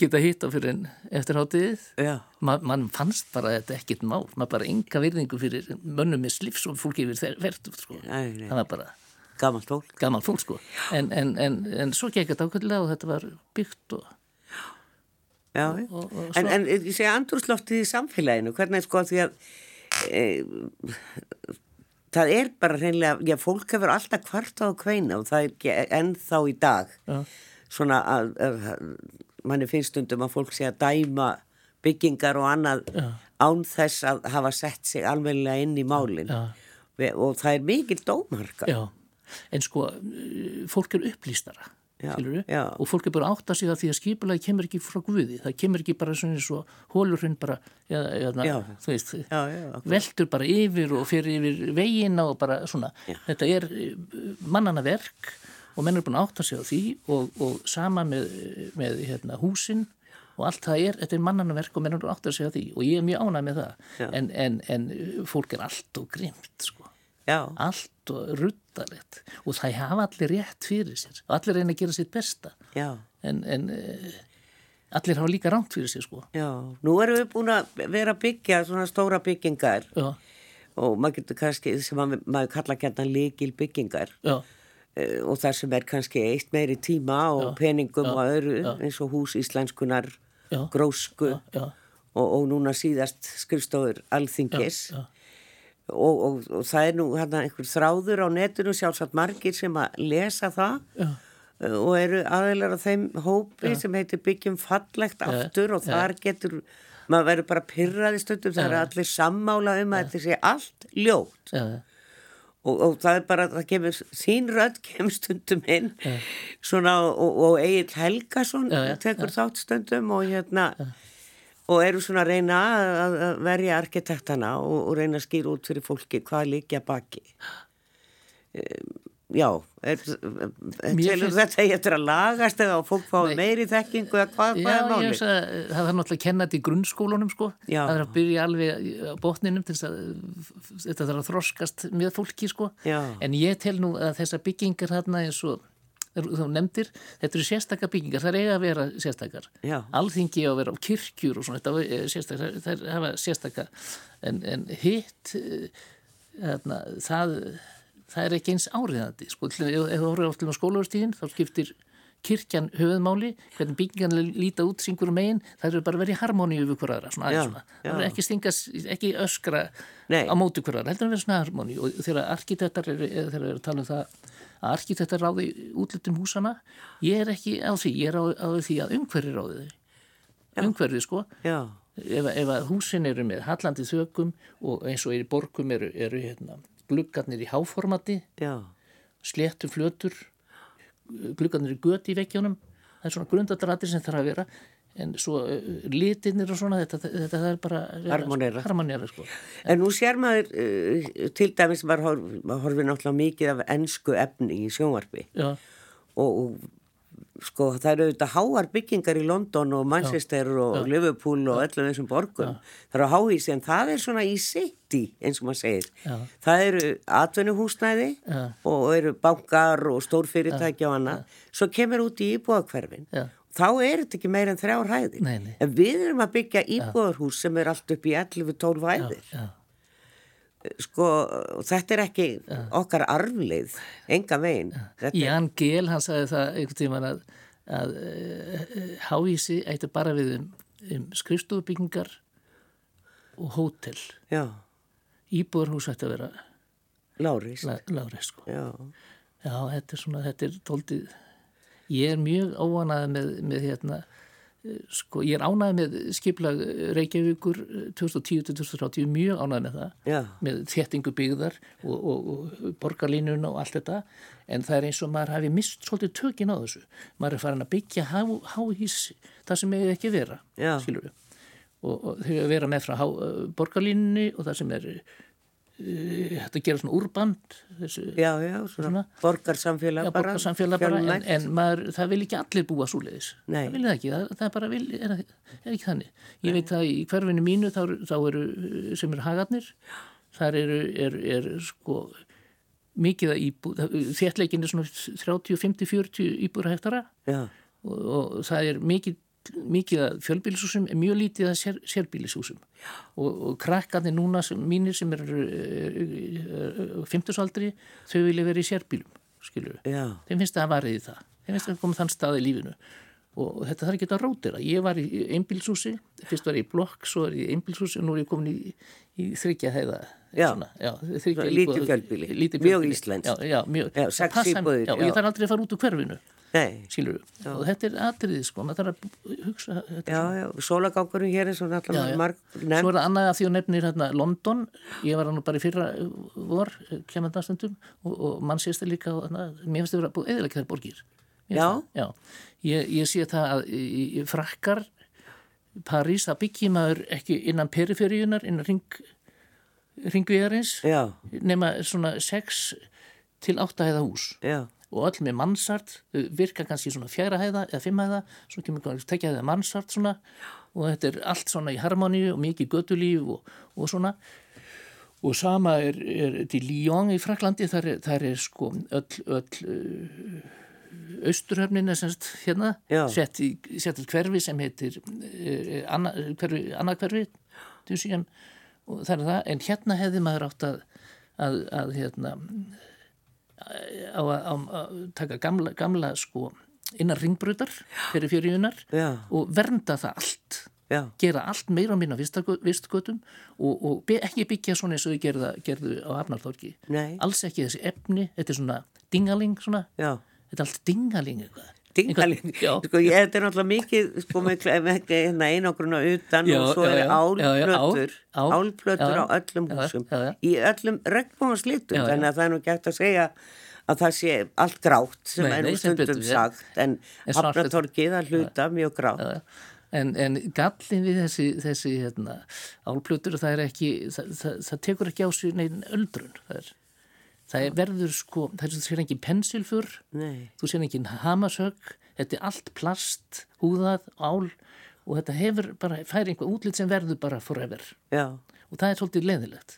[SPEAKER 2] geta hitt á fyrir en eftir hátíðið
[SPEAKER 1] já,
[SPEAKER 2] Ma, mann fannst bara þetta ekkert mál maður bara enga virðingu fyrir mönnum með slifs og fólki yfir þær verðum sko.
[SPEAKER 1] Nei, nei.
[SPEAKER 2] það var bara
[SPEAKER 1] gammalt fólk.
[SPEAKER 2] gaman fólk sko. en, en, en, en svo gekk þetta ákveðlega og þetta var byggt og
[SPEAKER 1] Já, já. en, en ég segja andrúrsloftið í samfélaginu, hvernig sko því að e, það er bara hreinlega, já fólk hefur alltaf kvart á kveina og það er ekki ennþá í dag
[SPEAKER 2] Já.
[SPEAKER 1] svona að, að manni finnst stundum að fólk sé að dæma byggingar og annað án þess að hafa sett sig alveglega inn í málin
[SPEAKER 2] Já.
[SPEAKER 1] Ve- og það er mikil dómarka
[SPEAKER 2] já. en sko eh, fólk er upplýstara
[SPEAKER 1] Já,
[SPEAKER 2] skilurðu?
[SPEAKER 1] já.
[SPEAKER 2] og fólk er bara átt að sig það því að skipulagi kemur ekki frá guði það kemur ekki bara svona eins og hólurinn bara ja, ja,
[SPEAKER 1] Já.
[SPEAKER 2] þú veist
[SPEAKER 1] Já, já, akkurat.
[SPEAKER 2] veldur bara yfir og fer yfir veginna og bara svona þetta er mannana verk og menn er búin að átta sig á því og, og sama með, með hérna, húsin og allt það er, þetta er mannana verk og menn er búin að átta sig á því og ég er mjög ánað með það en, en, en fólk er allt og grimt sko
[SPEAKER 1] já,
[SPEAKER 2] allt og ruttalegt og það hafa allir rétt fyrir sér og allir reyna að gera sitt besta
[SPEAKER 1] já.
[SPEAKER 2] en, en eh, allir hafa líka rámt fyrir sér sko
[SPEAKER 1] Já, nú erum við búin að vera að byggja svona stóra byggingar
[SPEAKER 2] já,
[SPEAKER 1] og maður getur kannski, sem maður, maður kalla gætna líkil byggingar
[SPEAKER 2] já,
[SPEAKER 1] eh, og það sem er kannski eitt meiri tíma og peningum og öðru eins og hús íslenskunar,
[SPEAKER 2] Já.
[SPEAKER 1] grósku
[SPEAKER 2] já,
[SPEAKER 1] Og, og núna síðast skrifstofur alþingis
[SPEAKER 2] já.
[SPEAKER 1] Og, og, og það er nú hérna einhver þráður á netinu sjálfsagt margir sem að lesa það
[SPEAKER 2] já.
[SPEAKER 1] eh, og eru aðeinar á þeim hópi sem heitir byggjum fallegt aftur og þar getur, maður verður bara pyrraði stundum, það eru allir sammála um að þetta sé allt ljótt
[SPEAKER 2] já, já.
[SPEAKER 1] og, og það er bara, það kemur, þín rödd kemur stundum inn svona og, og Egil Helgason
[SPEAKER 2] Já, já,
[SPEAKER 1] tekur þátt stundum og hérna og eru svona að reyna að, að verja arkitektana og, og reyna að skýra út fyrir fólki hvað líkja baki um, já er,
[SPEAKER 2] Mér
[SPEAKER 1] telur
[SPEAKER 2] finnst-
[SPEAKER 1] þetta ég eftir að lagast eða að fólk fái meiri þekkingu eða hvað, hvað
[SPEAKER 2] Já,
[SPEAKER 1] er
[SPEAKER 2] ég
[SPEAKER 1] máli
[SPEAKER 2] veist að það er náttúrulega að kenna þetta í grunnskólanum sko,
[SPEAKER 1] Já.
[SPEAKER 2] það er að byrja alveg á botninum til þess að eh, þetta þarf að þroskast með fólki sko,
[SPEAKER 1] Já.
[SPEAKER 2] en ég tel nú að þessar byggingar þarna eins og þú nefndir, þetta eru sérstakar byggingar, það er eiga að vera sérstakar,
[SPEAKER 1] Já.
[SPEAKER 2] alþingi á að vera á kirkjur og svona, þetta eh, er sérstakar, það er hafa sérstakar, en, en hitt, eh, þarna, það, það er ekki eins áriðandi, sko, til- ef ef þú horfir átlum á skólaverstíðin, þá skiptir kirkjan höfuðmáli, hvernig byggingan líta út syngur megin, það eru bara verið harmoníu við hver aðra, svona
[SPEAKER 1] Já,
[SPEAKER 2] aðeins svona, það
[SPEAKER 1] já.
[SPEAKER 2] er ekki stingas, ekki öskra
[SPEAKER 1] Nei.
[SPEAKER 2] á móti hver aðra, heldur að vera svona harmoníu og þegar arkitektar eru, eða þegar eru að tala um það að arkitektar ráði útlutum húsana, ég er ekki á því, ég er á, á því að umhverfi ráði þau, umhverfi sko,
[SPEAKER 1] já,
[SPEAKER 2] ef, ef að húsin eru með hallandi þökum og eins og er í borgum eru, eru hérna, gluggarnir í háformati,
[SPEAKER 1] já,
[SPEAKER 2] sléttu flötur, gluggarnir í göti í vekkjónum, það er svona grundadratir sem þarf að vera, en svo eh, litirnir og svona, þetta, þetta, það er bara...
[SPEAKER 1] Harmonera.
[SPEAKER 2] Harmonera, sko.
[SPEAKER 1] en nú sér maður uh, til dæmis maður horfi, maður horfi náttúrulega mikið af ennsku efni í sjónvarpi
[SPEAKER 2] Já,
[SPEAKER 1] og, og sko það eru auðvitað háar byggingar í London og Manchester og Liverpool og öllum þessum borgum það eru háís en það er svona í city eins og maður segir
[SPEAKER 2] Já.
[SPEAKER 1] það eru atvinnuhúsnæði
[SPEAKER 2] Já.
[SPEAKER 1] og eru bankar og stórfyrirtæki og annað svo kemur út í íbúðakverfin
[SPEAKER 2] Já.
[SPEAKER 1] þá er þetta ekki meira en þrjár hæðir
[SPEAKER 2] Nei, nei.
[SPEAKER 1] en við erum að byggja íbúðarhús sem er allt upp í 11-12 hæðir
[SPEAKER 2] já,
[SPEAKER 1] sko þetta er ekki okkar arflið enga veginn þetta
[SPEAKER 2] Jan Gehl, hann sagði það einhvern tíman að, að eh, háísi ætti bara við um, um skrifstofubyggingar og hótel.
[SPEAKER 1] já,
[SPEAKER 2] Íbúðarhús ætti að vera
[SPEAKER 1] Láris
[SPEAKER 2] la- lágrið, sko.
[SPEAKER 1] já
[SPEAKER 2] Já, þetta er svona, þetta er tóldið, ég er mjög ánæðið með, með hérna, eh, sko, ég er ánæðið með skiplag Reykjavíkur eh, 2010-2030, mjög ánæðið með það,
[SPEAKER 1] Já.
[SPEAKER 2] með þéttingu byggðar og, og, og borgarlínuna og allt þetta, en það er eins og maður hafi mist svolítið tökin á þessu, maður er farin að byggja há, háhís, það sem hefur ekki vera,
[SPEAKER 1] Já.
[SPEAKER 2] skilur við. Og, og þau að vera með frá há, eh, borgarlínunni og það sem er, eh, þetta gera svona úrband, þessu
[SPEAKER 1] Já, já, svona,
[SPEAKER 2] Svona.
[SPEAKER 1] borgarsamfélag
[SPEAKER 2] Já,
[SPEAKER 1] bara.
[SPEAKER 2] borgarsamfélag bara, en,
[SPEAKER 1] fjölmennt.
[SPEAKER 2] en maður, það vil ekki allir búa svoleiðis.
[SPEAKER 1] Nei.
[SPEAKER 2] Það vil það ekki, það, það er bara vil, er, er ekki þannig. Ég veit að í hverfinu mínu þá, eru- þá eru, uh, sem eru hagarnir, þar eru, er, er sko mikið að íbúð, þéttleikin er svona 30, 50, 40 íbúður að hektara
[SPEAKER 1] Já,
[SPEAKER 2] og, og það er mikið, mikið að fjölbílishúsum en mjög lítið að sér, sérbílishúsum og, og krakkarnir núna sem, mínir sem eru eh, uh, uh, uh, 50 aldri, þau vilja vera í sérbílum skilur við
[SPEAKER 1] já,
[SPEAKER 2] þeim finnst það að varðið í það þeim finnst það að koma þann stað í lífinu og þetta þarf ekki að rótira ég var í einbílshúsi, fyrst var ég í blokk svo er ég í einbílshúsi og nú er ég komin í, í þryggja heiða
[SPEAKER 1] Já.
[SPEAKER 2] já, þriggja
[SPEAKER 1] Lítið
[SPEAKER 2] íbúða-
[SPEAKER 1] fjölbýli.
[SPEAKER 2] lítið
[SPEAKER 1] Mjög
[SPEAKER 2] fjölbýli.
[SPEAKER 1] íslenskt.
[SPEAKER 2] já, já, mjög,
[SPEAKER 1] Já, sex
[SPEAKER 2] Það passar-
[SPEAKER 1] íbúðir,
[SPEAKER 2] já, og
[SPEAKER 1] já.
[SPEAKER 2] ég þarf aldrei að fara út úr hverfinu
[SPEAKER 1] nei,
[SPEAKER 2] skilur og þetta er atriðið sko, maður þarf að b- hugsa þetta.
[SPEAKER 1] já, já, sólagangurinn hér er svona
[SPEAKER 2] Já, já.
[SPEAKER 1] alltaf marg,
[SPEAKER 2] Svo
[SPEAKER 1] nefn,
[SPEAKER 2] er það annað að því að nefnir hérna London, ég var hann bara í fyrra eh, vor, kemandastundum og, og mann sést það líka, og, na, mér finnst það vera búið eðilega þær borgir. Mér
[SPEAKER 1] Já.
[SPEAKER 2] finnst það, Já, ég, ég sé það að í, í frakkar París, það byggir maður ekki innan periferíunar, innan ring, ringviðarins,
[SPEAKER 1] já,
[SPEAKER 2] nema svona 6 til 8 hæða hús
[SPEAKER 1] já,
[SPEAKER 2] og öll með mannsart þau virka kannski svona fjæra hæða eða fimm hæða svo kemur kannski tekja hæða mannsart svona og þetta er allt svona í harmoníu og mikið göttulíf og, og svona og sama er, er til Lyon í Fraklandi þar er, þar er sko öll, öll austurhöfnin er semst hérna
[SPEAKER 1] Já.
[SPEAKER 2] sett í, sett í hverfi sem heitir uh, anna, hverfi, annað hverfi Dusíum, og það er það, en hérna hefði maður átt að, að, að hérna á að, á að taka gamla, gamla sko innan ringbröðar fyrir fjöriunar
[SPEAKER 1] Já.
[SPEAKER 2] og vernda það allt
[SPEAKER 1] já,
[SPEAKER 2] gera allt meira á minna vistgötum og, og be, ekki byggja svona eins og þau gerða, gerðu á Hafnartorki
[SPEAKER 1] Nei.
[SPEAKER 2] alls ekki þessi efni, þetta er svona dingaling svona,
[SPEAKER 1] já,
[SPEAKER 2] þetta er allt dingaling eitthvað
[SPEAKER 1] Tingalinn,
[SPEAKER 2] já.
[SPEAKER 1] sko ég, þetta er náttúrulega mikið, sko með kle- með ekki hérna einogruna utan
[SPEAKER 2] Já,
[SPEAKER 1] og svo
[SPEAKER 2] já,
[SPEAKER 1] er
[SPEAKER 2] já. Já, já, ál-
[SPEAKER 1] álplötur,
[SPEAKER 2] ál-
[SPEAKER 1] álplötur
[SPEAKER 2] já,
[SPEAKER 1] á öllum
[SPEAKER 2] já,
[SPEAKER 1] húsum,
[SPEAKER 2] já, já.
[SPEAKER 1] í öllum regnbóðanslitum,
[SPEAKER 2] Já, já.
[SPEAKER 1] þannig að það er nú gætt að segja að það sé allt grátt sem
[SPEAKER 2] Nei,
[SPEAKER 1] er
[SPEAKER 2] nei,
[SPEAKER 1] nú
[SPEAKER 2] sem betur
[SPEAKER 1] stundum
[SPEAKER 2] fer.
[SPEAKER 1] sagt, en
[SPEAKER 2] En svart-
[SPEAKER 1] hafnatorkið að hluta mjög grátt.
[SPEAKER 2] Já, já. En, en gallin við þessi, þessi hérna, álplötur, það er ekki, það, það, það tekur ekki á sig neginn öldrun. Það, er, það er verður sko, það er svo þú sér engin pensilfur,
[SPEAKER 1] Nei.
[SPEAKER 2] þú sér engin hamasögg, þetta er allt plast, húðað, ál og þetta hefur bara, fær einhver útlit sem verður bara forever.
[SPEAKER 1] Já,
[SPEAKER 2] Og það er svolítið leðilegt.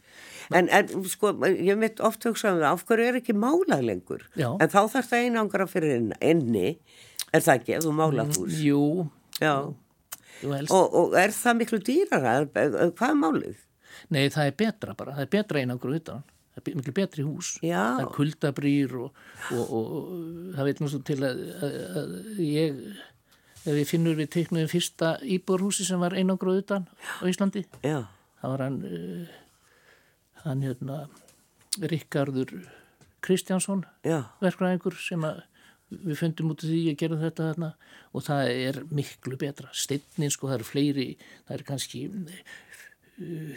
[SPEAKER 1] en, en sko, ég mitt oft hugsa um það, af hverju er ekki málað lengur?
[SPEAKER 2] Já.
[SPEAKER 1] En þá þarf það einangra fyrir inn- inni, er það ekki, ef þú
[SPEAKER 2] Mm.
[SPEAKER 1] málað hús?
[SPEAKER 2] Jú,
[SPEAKER 1] Já,
[SPEAKER 2] jú helst.
[SPEAKER 1] og, og er það miklu dýrara? Er- Hvað er málið?
[SPEAKER 2] Nei, það er betra bara, það er betra einangur utan, það er be- miklu betri hús
[SPEAKER 1] Já.
[SPEAKER 2] það er kuldabrýr og, og, og, það veit nú svo til að, að, að ég ef ég finnur við teiknum fyrsta íbúrhúsi sem var einangur utan á Íslandi
[SPEAKER 1] Já,
[SPEAKER 2] það var hann eh, hann hérna Rikkardur Kristjánsson
[SPEAKER 1] já,
[SPEAKER 2] verkræðingur sem að við fundum út af því að gera þetta þarna og það er miklu betra steinnin sko, það eru fleiri það eru kannski eh,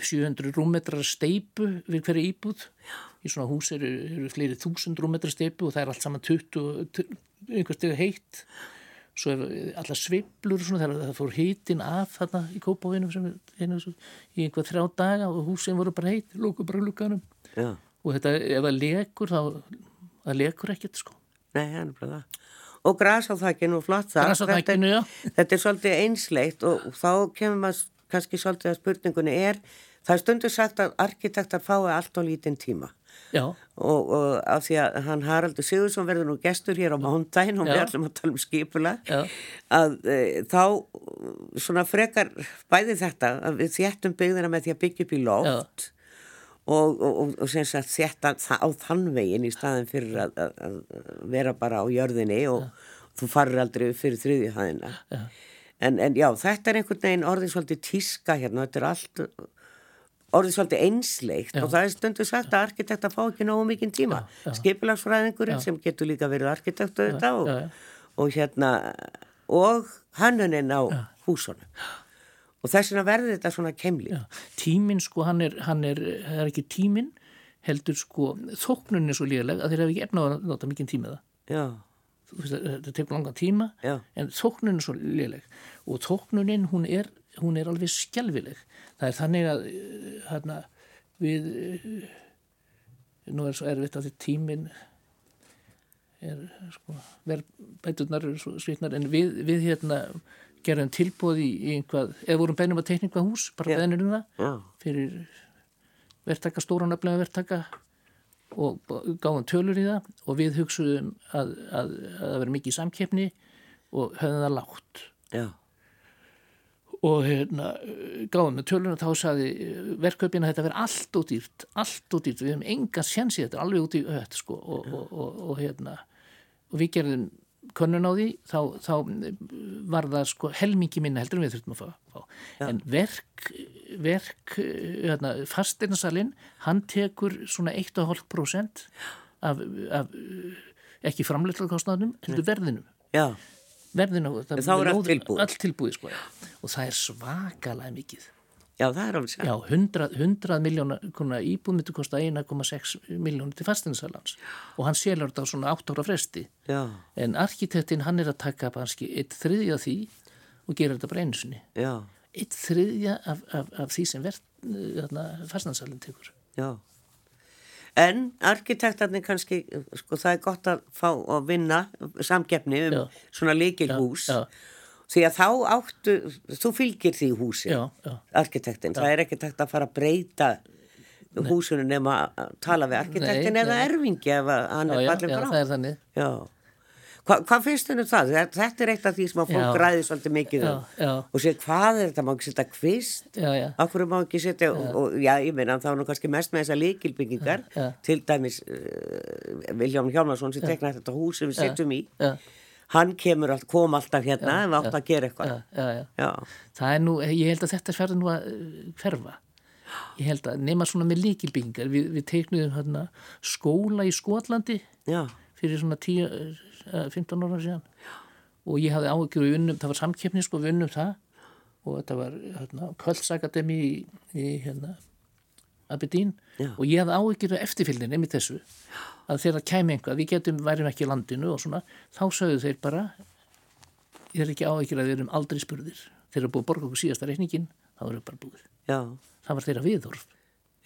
[SPEAKER 2] 700 rúmmetrar steipu við hverju íbúð í svona hús eru, eru fleiri 1000 rúmmetrar steipu og það er allt saman 20 tu- einhvers stegu heitt svo er allar sveiflur og svona, það, það fór heitin af þarna í kópávinum sem, hérna, svo- í einhvað þrjá daga og húsin voru bara heitt, lóku bara lukkanum
[SPEAKER 1] já,
[SPEAKER 2] og þetta, ef það lekur þá, það lekur ekkert sko
[SPEAKER 1] nei, það er bara það. Og gras á þakkinu og flott það.
[SPEAKER 2] Gras á
[SPEAKER 1] Þetta er-
[SPEAKER 2] þakinu, já.
[SPEAKER 1] Þetta er svolítið einsleitt og og þá kemur maður kannski svolítið að spurningunni er, það er stundu sagt að arkitektar fái allt á lítinn tíma.
[SPEAKER 2] já,
[SPEAKER 1] og, og af því að hann Haraldur Sigursson verður nú gestur hér á mándaginn og við
[SPEAKER 2] Já.
[SPEAKER 1] ætlum að tala um skipula
[SPEAKER 2] Já.
[SPEAKER 1] að e, þá uh, svona frekar bæði þetta að við þéttum byggðina með því að byggja upp í loft og, og, og, og sem sagt þétta þa- á þann veginn í staðin fyrir að, að, að vera bara á jörðinni og þú farir aldrei upp fyrir þriðju hæðina en, en já, þetta er einhvern veginn orðið svolítið tíska hérna, þetta er allt orðið svolítið einsleikt og það er stundu sagt að arkitekta fá ekki nógu mikinn tíma. Skipilagsfræðingurinn sem getur líka verið arkitekta þetta og,
[SPEAKER 2] já, já.
[SPEAKER 1] og hérna og hannuninn á húsunum. Og þess vegna verður þetta svona kemli.
[SPEAKER 2] já. tíminn sko, hann er, hann er, það er ekki tíminn heldur sko, þóknunin er svo líðileg að þeir hafa ekki efna að nota mikinn tíma í það
[SPEAKER 1] Já,
[SPEAKER 2] Þú veist, þetta tekur langan tíma
[SPEAKER 1] Já.
[SPEAKER 2] en þóknunin er svo léleg og þóknunin hún er, hún er alveg skelvileg það er þannig að eh, hérna, við eh, nú er svo erfitt að því tímin er sko verðbæturnar eru svo svitnar en við, við hérna gerum tilbúð í, í einhvað, eða vorum beinum að teikna eitthvað hús, bara beinir um það
[SPEAKER 1] já,
[SPEAKER 2] fyrir verktaka, stóran öflega verktaka og b- gáðum tölur í það og við hugsuðum að, að, að það veri mikið samkeppni og höfðum það lágt
[SPEAKER 1] já,
[SPEAKER 2] og hérna, gáðum með tölur og þá saði verkköpina að þetta veri allt og dýrt, allt og dýrt við hefum enga sjensi þetta, er alveg út í öll sko, og, og, og, og hérna og við gerðum könnun á því þá, þá var það sko helmingi minna heldur en við þurftum að fá, fá. en verk, verk hérna, fasteinasalinn hann tekur svona 1,5% af, af eh, ekki framleitlakostnaðnum, heldur verðinum
[SPEAKER 1] já,
[SPEAKER 2] verðinu það,
[SPEAKER 1] En þá er
[SPEAKER 2] við
[SPEAKER 1] allt
[SPEAKER 2] náðum-
[SPEAKER 1] tilbúið.
[SPEAKER 2] allt tilbúið sko, já. og það er svakalega mikið
[SPEAKER 1] já, það er alveg sér.
[SPEAKER 2] já, 100, 100 miljóna íbúð myndi kosta 1,6 miljónu til fastinsalans og hann selur þetta á svona 8 ára fresti
[SPEAKER 1] Já,
[SPEAKER 2] en arkitektinn hann er að taka banski eitt þriðja af því og gera þetta bara einu sinni
[SPEAKER 1] já,
[SPEAKER 2] eitt þriðja af, af, af því sem verð, þarna, fastinsalinn tekur
[SPEAKER 1] já. En arkitektarnir kannski, sko, það er gott að fá að vinna samkeppni um
[SPEAKER 2] Já.
[SPEAKER 1] svona líkilhús.
[SPEAKER 2] já,
[SPEAKER 1] Því að þá áttu, þú fylgir því húsi,
[SPEAKER 2] já, já
[SPEAKER 1] arkitektin. Það er ekki takt að fara að breyta húsinu nema að tala við arkitektin
[SPEAKER 2] Nei,
[SPEAKER 1] eða
[SPEAKER 2] nei.
[SPEAKER 1] erfingi ef að hann
[SPEAKER 2] Já,
[SPEAKER 1] er
[SPEAKER 2] já,
[SPEAKER 1] fallin
[SPEAKER 2] já,
[SPEAKER 1] frá.
[SPEAKER 2] það er þannig
[SPEAKER 1] Já. Hva, hvað finnst þennu það? Þetta- Þetta er eitt af því sem að fólk
[SPEAKER 2] Já.
[SPEAKER 1] ræði svolítið mikið um.
[SPEAKER 2] Já, já.
[SPEAKER 1] Og sé hvað er þetta, má ekki setja kvist?
[SPEAKER 2] já, já,
[SPEAKER 1] Akkur má ekki setja, já. og já, ég meina þá er nú kannski mest með þessar líkilbyggingar,
[SPEAKER 2] Já, já.
[SPEAKER 1] til dæmis uh, Viljón Hjálmarsson sem teknaði þetta hús sem við setjum í,
[SPEAKER 2] já,
[SPEAKER 1] hann kemur allt, kom alltaf hérna ef átt að gera eitthvað.
[SPEAKER 2] já, já, já.
[SPEAKER 1] Já,
[SPEAKER 2] það er nú, ég held að þetta færði nú að eh, hverfa ég held að nema svona með líkilbyggingar við, við teiknuðum hérna skóla í Skotlandi
[SPEAKER 1] já,
[SPEAKER 2] fyrir svona 10, eh, 15 ára síðan og ég hafði áhyggjur við unnum, það var samkeppni sko við unnum það og þetta var hérna, Kvöldsakademi í, í hérna, Abedín
[SPEAKER 1] Já.
[SPEAKER 2] og ég hafði áhyggjur við eftirfylgin einmitt þessu að þegar það kæmi einhvað, við getum, værim ekki í landinu og svona, þá sögðu þeir bara ég er ekki áhyggjur að við erum aldrei spurðir þeir eru búið að borga okkur síðasta reikningin þá erum við bara búið,
[SPEAKER 1] já,
[SPEAKER 2] það var þeirra viðhorf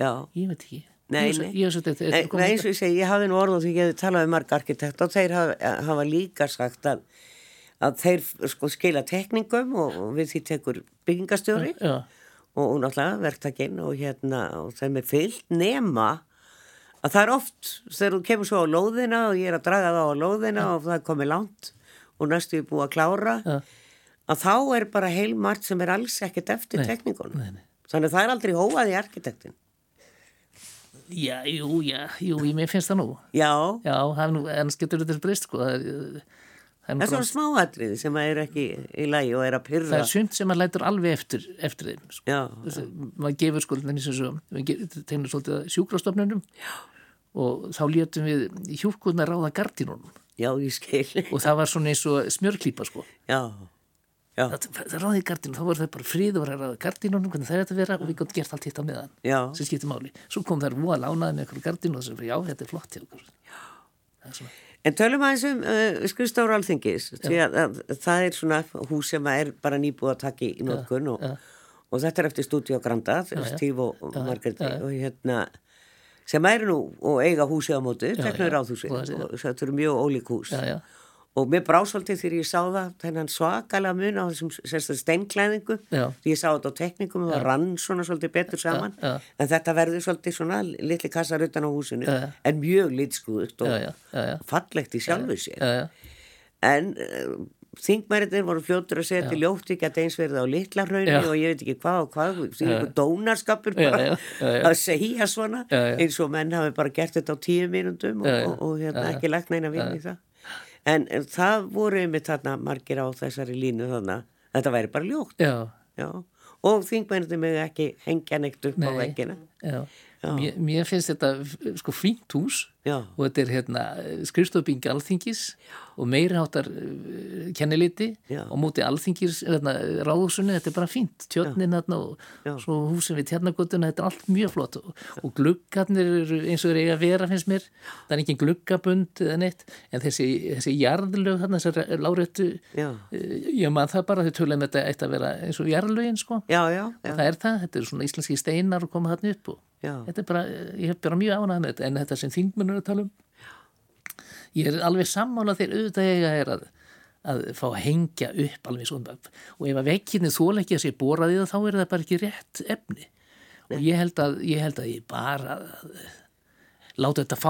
[SPEAKER 1] já.
[SPEAKER 2] ég veit ekki
[SPEAKER 1] Nei,
[SPEAKER 2] ég,
[SPEAKER 1] nei.
[SPEAKER 2] ég, ég, ég,
[SPEAKER 1] Nei, nei, eins og ég segi, ég hafði nú orð og því ég hefði talað um marga arkitekt og þeir hafa, hafa líka sagt að, að þeir sko skila tekningum og, og við því tekur byggingastjóri
[SPEAKER 2] já,
[SPEAKER 1] og, og náttúrulega verktakinn og hérna og þeim er fyllt nema að það er oft þegar þú kemur svo á lóðina og ég er að draga það á lóðina og það er komið langt og næstu ég búið að klára
[SPEAKER 2] Já.
[SPEAKER 1] að þá er bara heilmart sem er alls ekkert eftir
[SPEAKER 2] Nei,
[SPEAKER 1] tekningunum
[SPEAKER 2] nei, nei.
[SPEAKER 1] þannig að það er aldrei hóað í arkitektin
[SPEAKER 2] já, jú, já, jú, ég mér finnst það nú
[SPEAKER 1] já,
[SPEAKER 2] Já, það er nú, annars getur þetta breyst sko. Það er, það er, nú
[SPEAKER 1] það er
[SPEAKER 2] bara-
[SPEAKER 1] svona smáatriði sem er ekki í lagi og er að
[SPEAKER 2] það
[SPEAKER 1] pyrra
[SPEAKER 2] er sumt sem maður lætur alveg eftir, eftir þeim. Sko.
[SPEAKER 1] já,
[SPEAKER 2] Þessi- Maður gefur sko, nefnir sem svo, við tegnum svolítið að sjúkrastofnunum og þá létum við hjúkuna ráða gardínunum
[SPEAKER 1] já, ég skil
[SPEAKER 2] og það var svona eins og smjörklípa sko.
[SPEAKER 1] já, já,
[SPEAKER 2] Það, það ráði gardínunum, þá voru það bara frið og var að ráða gardínunum, hvernig það er þetta að vera og við gott gert allt hitt á meðan
[SPEAKER 1] já,
[SPEAKER 2] sem skiptir máli. Svo kom þær voða lánaði með einhverju gardínu og þessum, já, þetta er flott hjá okkur. Það er svona,
[SPEAKER 1] en tölum aðeins um uh, skrifstóra alþingis því að, að, það er svona hús sem er bara nýbúið að taka í nokkun og, og þetta er eftir Studio Granda Steve og ja, Margréti og hérna sem eru nú og eiga húsi á móti, teknur ráðhúsi og þetta eru mjög ólík hús
[SPEAKER 2] já, já,
[SPEAKER 1] og mér brá svolítið þegar ég sá það þennan svakalega mun á þessum sérstaklega steinklæðingu
[SPEAKER 2] Já.
[SPEAKER 1] því ég sá þetta á teknikum og það rann svona svolítið betur saman
[SPEAKER 2] já.
[SPEAKER 1] en þetta verður svolítið svona litli kassar utan á húsinu
[SPEAKER 2] Já, já.
[SPEAKER 1] en mjög litskuðugt og
[SPEAKER 2] já, já, já, já,
[SPEAKER 1] fallegt í sjálfu sér
[SPEAKER 2] já, já.
[SPEAKER 1] en uh, þingmæriðin voru fljótur að segja til ljótt ekki að eins verði á litla hraunni
[SPEAKER 2] Já.
[SPEAKER 1] og ég veit ekki hvað og hvað því einhver dónarskapur
[SPEAKER 2] Já,
[SPEAKER 1] bara
[SPEAKER 2] já, já, já.
[SPEAKER 1] að segja svona
[SPEAKER 2] Já, já.
[SPEAKER 1] eins og menn hafi bara gert þetta á tíu mínundum og, og, og hérna, ekki lagt neina vinn í það en, en það voru einmitt þarna margir á þessari línu þarna þetta væri bara ljótt
[SPEAKER 2] já.
[SPEAKER 1] já. og þingmæriðin með ekki hengja neitt upp á
[SPEAKER 2] Nei.
[SPEAKER 1] veggina
[SPEAKER 2] Já. Mér, mér finnst þetta f- sko fínt hús
[SPEAKER 1] Já.
[SPEAKER 2] og þetta er hérna skrifstofbingi alþingis og meiri háttar eh, kenniliti
[SPEAKER 1] Já.
[SPEAKER 2] og móti alþingis hérna, ráðhúsunni, þetta er bara fínt tjörnin hérna og svo húsin við tjarnagotuna, þetta er allt mjög flott og, og gluggarnir eru eins og þeir eiga að vera finnst mér, það er engin gluggabund eða neitt, en þessi, þessi jarðlög þarna, þessar eh, láréttu eh,
[SPEAKER 1] já,
[SPEAKER 2] ég man það bara, þau töluðum þetta eitt að vera eins og jarðlögin sko
[SPEAKER 1] já, já,
[SPEAKER 2] og
[SPEAKER 1] já.
[SPEAKER 2] það er það, þetta eru svona íslenski steinar og koma þarna upp og
[SPEAKER 1] Já.
[SPEAKER 2] þetta er bara, ég hef bara mjög ánað með þetta en þetta sem þingmennur að tala um ég er alveg sammála þegar auðvitað eiga er að, að fá að hengja upp alveg svona og ef að vekkinni þóleikja sér boraði það þá er það bara ekki rétt efni og ég held að ég, held að ég bara láta þetta fá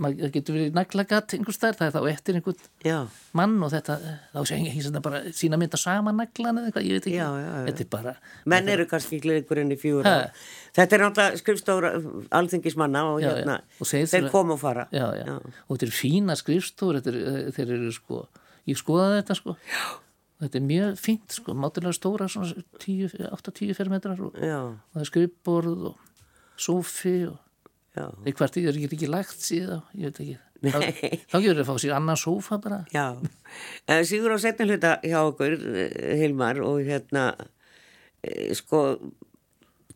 [SPEAKER 2] maður það getur verið naglagat einhvers þar það er þá eftir einhvern
[SPEAKER 1] já.
[SPEAKER 2] mann og þetta þá sé hengi ekki bara sína mynda saman naglan eða eitthvað, ég veit ekki
[SPEAKER 1] Já, já, já.
[SPEAKER 2] þetta er bara
[SPEAKER 1] menn eru kannski ekki lengur enn í fjúra þetta er náttúrulega skrifstóra alþingismanna og
[SPEAKER 2] Já,
[SPEAKER 1] hérna
[SPEAKER 2] já. Og segir
[SPEAKER 1] þeir
[SPEAKER 2] þurfa-
[SPEAKER 1] koma og fara
[SPEAKER 2] já, já. og þetta eru fína skrifstúr þetta eru, þeir eru sko ég skoðaði þetta sko já. þetta er mjög fínt sko, mátilega stóra svona 10, 8-10 fermetrar og,
[SPEAKER 1] Já,
[SPEAKER 2] og það er skrifborð og sofi og
[SPEAKER 1] já,
[SPEAKER 2] þeir hvert ég er ekki, ekki lagt síðan ég veit ekki,
[SPEAKER 1] Nei.
[SPEAKER 2] þá, þá gjörður að fá sér annan sofa bara
[SPEAKER 1] já. En Sigur á setni hluta hjá okkur eh, Hilmar og hérna eh, sko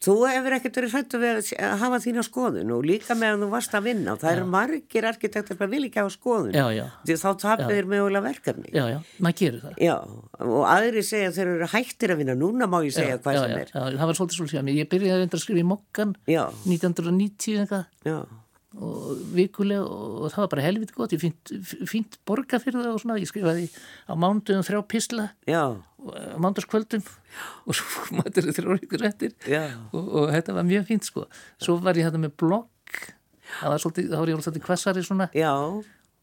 [SPEAKER 1] þú hefur ekkert verið hrættu við að s- að hafa þína skoðun og líka meðan þú varst að vinna það eru margir arkitektur sem vil ekki hafa skoðun
[SPEAKER 2] já, já,
[SPEAKER 1] því þá tapir þér mögulega verkefni
[SPEAKER 2] já, já, maður gerir það
[SPEAKER 1] Já, og aðri segja þeir eru hættir að vinna núna má ég segja hvað
[SPEAKER 2] já,
[SPEAKER 1] sem
[SPEAKER 2] já, já, það var svolítið svolítið að mér ég byrjaði að reynda að skrifa í mokkan
[SPEAKER 1] Já.
[SPEAKER 2] 1990 eitthvað
[SPEAKER 1] er já.
[SPEAKER 2] og vikulega og það var bara helviti gott ég fínt, fínt borga fyrir það og svona ég skrifaði á mándum þrjá pisla
[SPEAKER 1] Já,
[SPEAKER 2] og eh, á mándagskvöldum og svo mættur þið þrjá ykkur eftir
[SPEAKER 1] Já.
[SPEAKER 2] og, og þetta var mjög fínt sko svo var ég þetta með blogg það var svolítið, þá var ég alveg svolítið kvassari svona
[SPEAKER 1] já,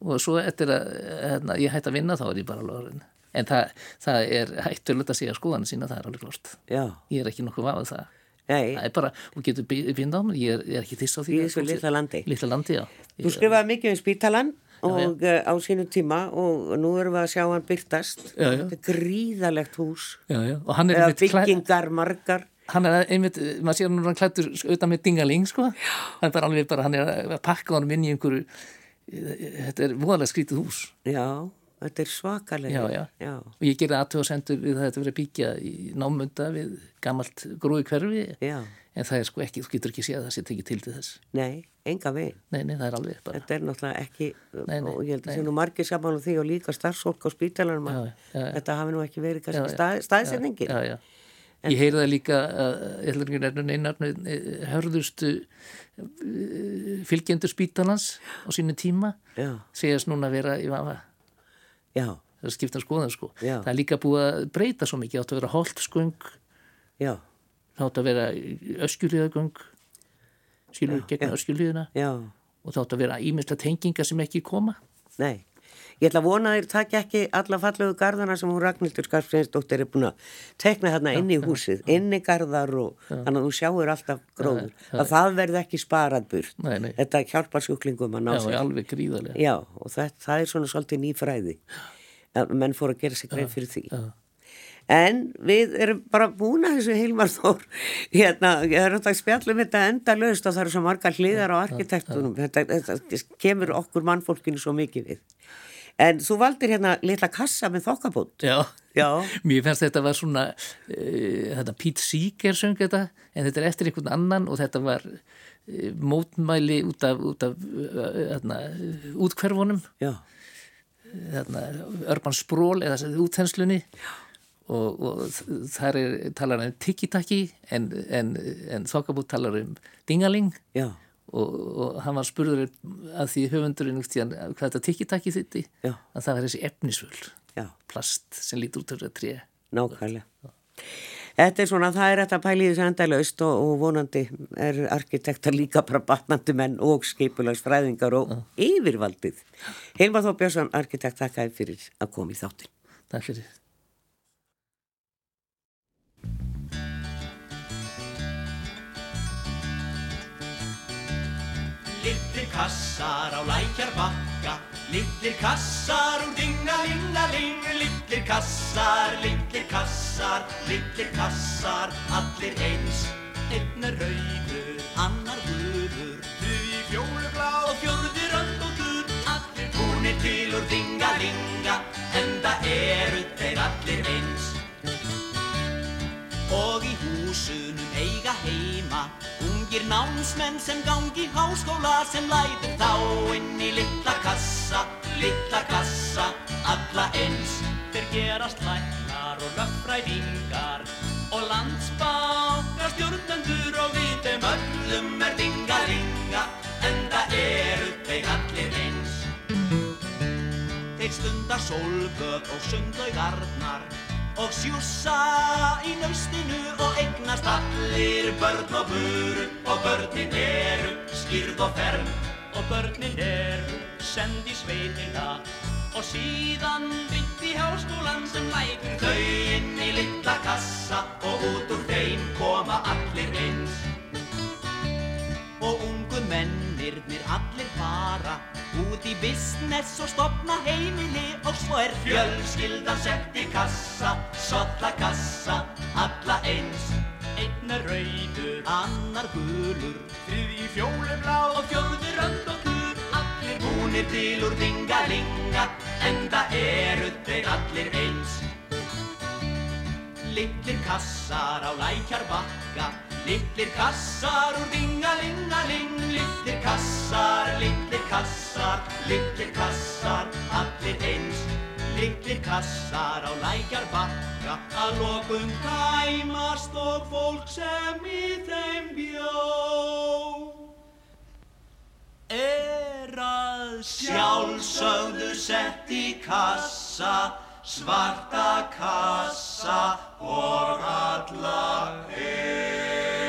[SPEAKER 2] og svo eftir að hérna, ég hætti að vinna þá er ég bara alveg orðin en það, það er hættulegt að segja skoðan sína það er alveg klart
[SPEAKER 1] já,
[SPEAKER 2] ég er ekki nokkuð vafað það
[SPEAKER 1] nei,
[SPEAKER 2] það er bara, og getur býnd á mér ég er, ég er ekki þess á því
[SPEAKER 1] Í
[SPEAKER 2] að
[SPEAKER 1] þessu
[SPEAKER 2] fólk sé-
[SPEAKER 1] sko litla landi.
[SPEAKER 2] litla landi, já
[SPEAKER 1] þú skrifaði mikið um spítalan og já, á sínu tíma og nú erum við að sjá hann byrtast,
[SPEAKER 2] Já, já.
[SPEAKER 1] þetta er gríðalegt hús,
[SPEAKER 2] Já, já, og hann er
[SPEAKER 1] eða
[SPEAKER 2] einmitt, klæ...
[SPEAKER 1] byggingar margar,
[SPEAKER 2] hann er einmitt, maður sér hann núna klættur auðvitað með dingaling, sko. Hann er bara alveg eh, bara, hann er að pakka honum inn í einhverju, þetta er voðalega skrítið hús.
[SPEAKER 1] já, Þetta er svakalega.
[SPEAKER 2] Já, já. Og ég gerði aðtöðsendur við það að þetta verið að byggja í námunda við gamalt grúi hverfi.
[SPEAKER 1] Já.
[SPEAKER 2] En það er sko ekki, þú getur ekki séð að það sé tekið til til þess.
[SPEAKER 1] Nei, enga veginn.
[SPEAKER 2] Nei, nei, það er alveg bara.
[SPEAKER 1] Þetta er náttúrulega ekki, eh,
[SPEAKER 2] Nei, nei,
[SPEAKER 1] og ég held að
[SPEAKER 2] nei,
[SPEAKER 1] sé nú margir saman á því og líka starfsólk á spítalanum að
[SPEAKER 2] Já, já, já.
[SPEAKER 1] þetta hafi nú ekki verið
[SPEAKER 2] Já,
[SPEAKER 1] kannski
[SPEAKER 2] já.
[SPEAKER 1] stað, staðsetningin.
[SPEAKER 2] Já, já. Ég heyrði það líka að ætlarnir er einnarnu hörðustu eh, fylgjendur spítalans á sínu tíma
[SPEAKER 1] Já.
[SPEAKER 2] segjast núna að vera í vafa.
[SPEAKER 1] Já,
[SPEAKER 2] Það er skipta skoðan sko.
[SPEAKER 1] Já.
[SPEAKER 2] Það er líka búið að breyta svo mikið. Það átt að vera holtskung,
[SPEAKER 1] já,
[SPEAKER 2] það átt að vera öskjulíðagöng, skilur gegn öskjulíðuna
[SPEAKER 1] já,
[SPEAKER 2] og það átt að vera ímyndla tenginga sem ekki koma.
[SPEAKER 1] nei. Ég ætla að vona að þér takja ekki alla fallegu garðana sem hún Ragnhildur Skarpsveinsdóttir er búin að tekna þarna inn í húsið, inn í garðar og þannig að þú sjáur alltaf gróður. Að það verði ekki sparað burt.
[SPEAKER 2] Nei, nei.
[SPEAKER 1] Þetta hjálpar sjúklingum að ná
[SPEAKER 2] Já,
[SPEAKER 1] sér.
[SPEAKER 2] alveg gríðarlega.
[SPEAKER 1] Já, og það, það er svona svolítið nýfræði að menn fóru að gera sér grein fyrir því. En við erum bara búin að þessu Hilmar Þór, hérna, ég er alltaf að spjalla um þetta enda lögst og það eru svo margar hliðar á arkitektunum, þetta, þetta kemur okkur mannfólkinu svo mikið við. En þú valdir hérna litla kassa með þokkabót.
[SPEAKER 2] Já.
[SPEAKER 1] Já,
[SPEAKER 2] Mér fannst þetta var svona, uh, þetta Pete Seeger söng þetta, en þetta er eftir einhvern annan og þetta var uh, mótmæli út af, út af uh, hérna, uh, útkverfunum,
[SPEAKER 1] já,
[SPEAKER 2] hérna, Urban Sprawl eða þessi útþenslunni og, og þ- þar er talar um tiki-taki en, en, en þokkabútt talar um dingaling
[SPEAKER 1] já,
[SPEAKER 2] og, og hann var spurður að því höfundurinn út í hann hvað þetta tiki-taki þitti,
[SPEAKER 1] Já.
[SPEAKER 2] að það var þessi efnisvöld,
[SPEAKER 1] já,
[SPEAKER 2] plast sem lítur út af þetta tréa.
[SPEAKER 1] nákvæmlega. Þetta er svona, það er þetta pælið þessu enda lögst og, og vonandi er arkitektar líka bara batnandi menn og skipulags fræðingar og yfirvaldið. Hilmar Þór Björnsson, arkitekt, þakkaði fyrir að koma í þáttin.
[SPEAKER 2] Takk fyrir.
[SPEAKER 3] Littir kassar á lækjarbakka Littir kassar úr dingalingaling Littir kassar, littir kassar, littir kassar Allir eins Einn er rauður, annar gulur Því fjólublá og fjórði röndóttur Allir búnir til úr dingalinga Enda eru þeir allir eins og í húsunum eiga heima Ungir námsmenn sem gangi háskóla sem lætur þá inn í litla kassa, litla kassa, alla eins Þeir gerast læknar og löffræðingar og landsbákar stjórnendur og við þeim öllum er dingalinga en það eru þeir allir eins Þeir stunda sólböð og sundlaugarnar og sjússa í naustinu og eignast allir börn og buru og börnin eru skýrð og ferm og börnin eru send í sveitina og síðan bytt í háskólan sem lætur þau inn í litla kassa og út úr þeim koma allir eins og ungu mennirnir allir fara út í business og stopna heimili og svo er fjölskyldan sett í kassa, solla kassa, alla eins. Einn er rauður, annar gulur, þriði fjólublá og fjörður öndokkur. Allir búnir til úr dingalinga, en það eru þeir allir eins. Littir kassar á lækjarbakka Littir kassar úr dingalingaling Littir kassar, littir kassar, littir kassar Allir eins Littir kassar á lækjarbakka Að lokum tæmast og fólk sem í þeim bjó er að sjálfsögðu sett í kassa, svarta kassa og alla einn.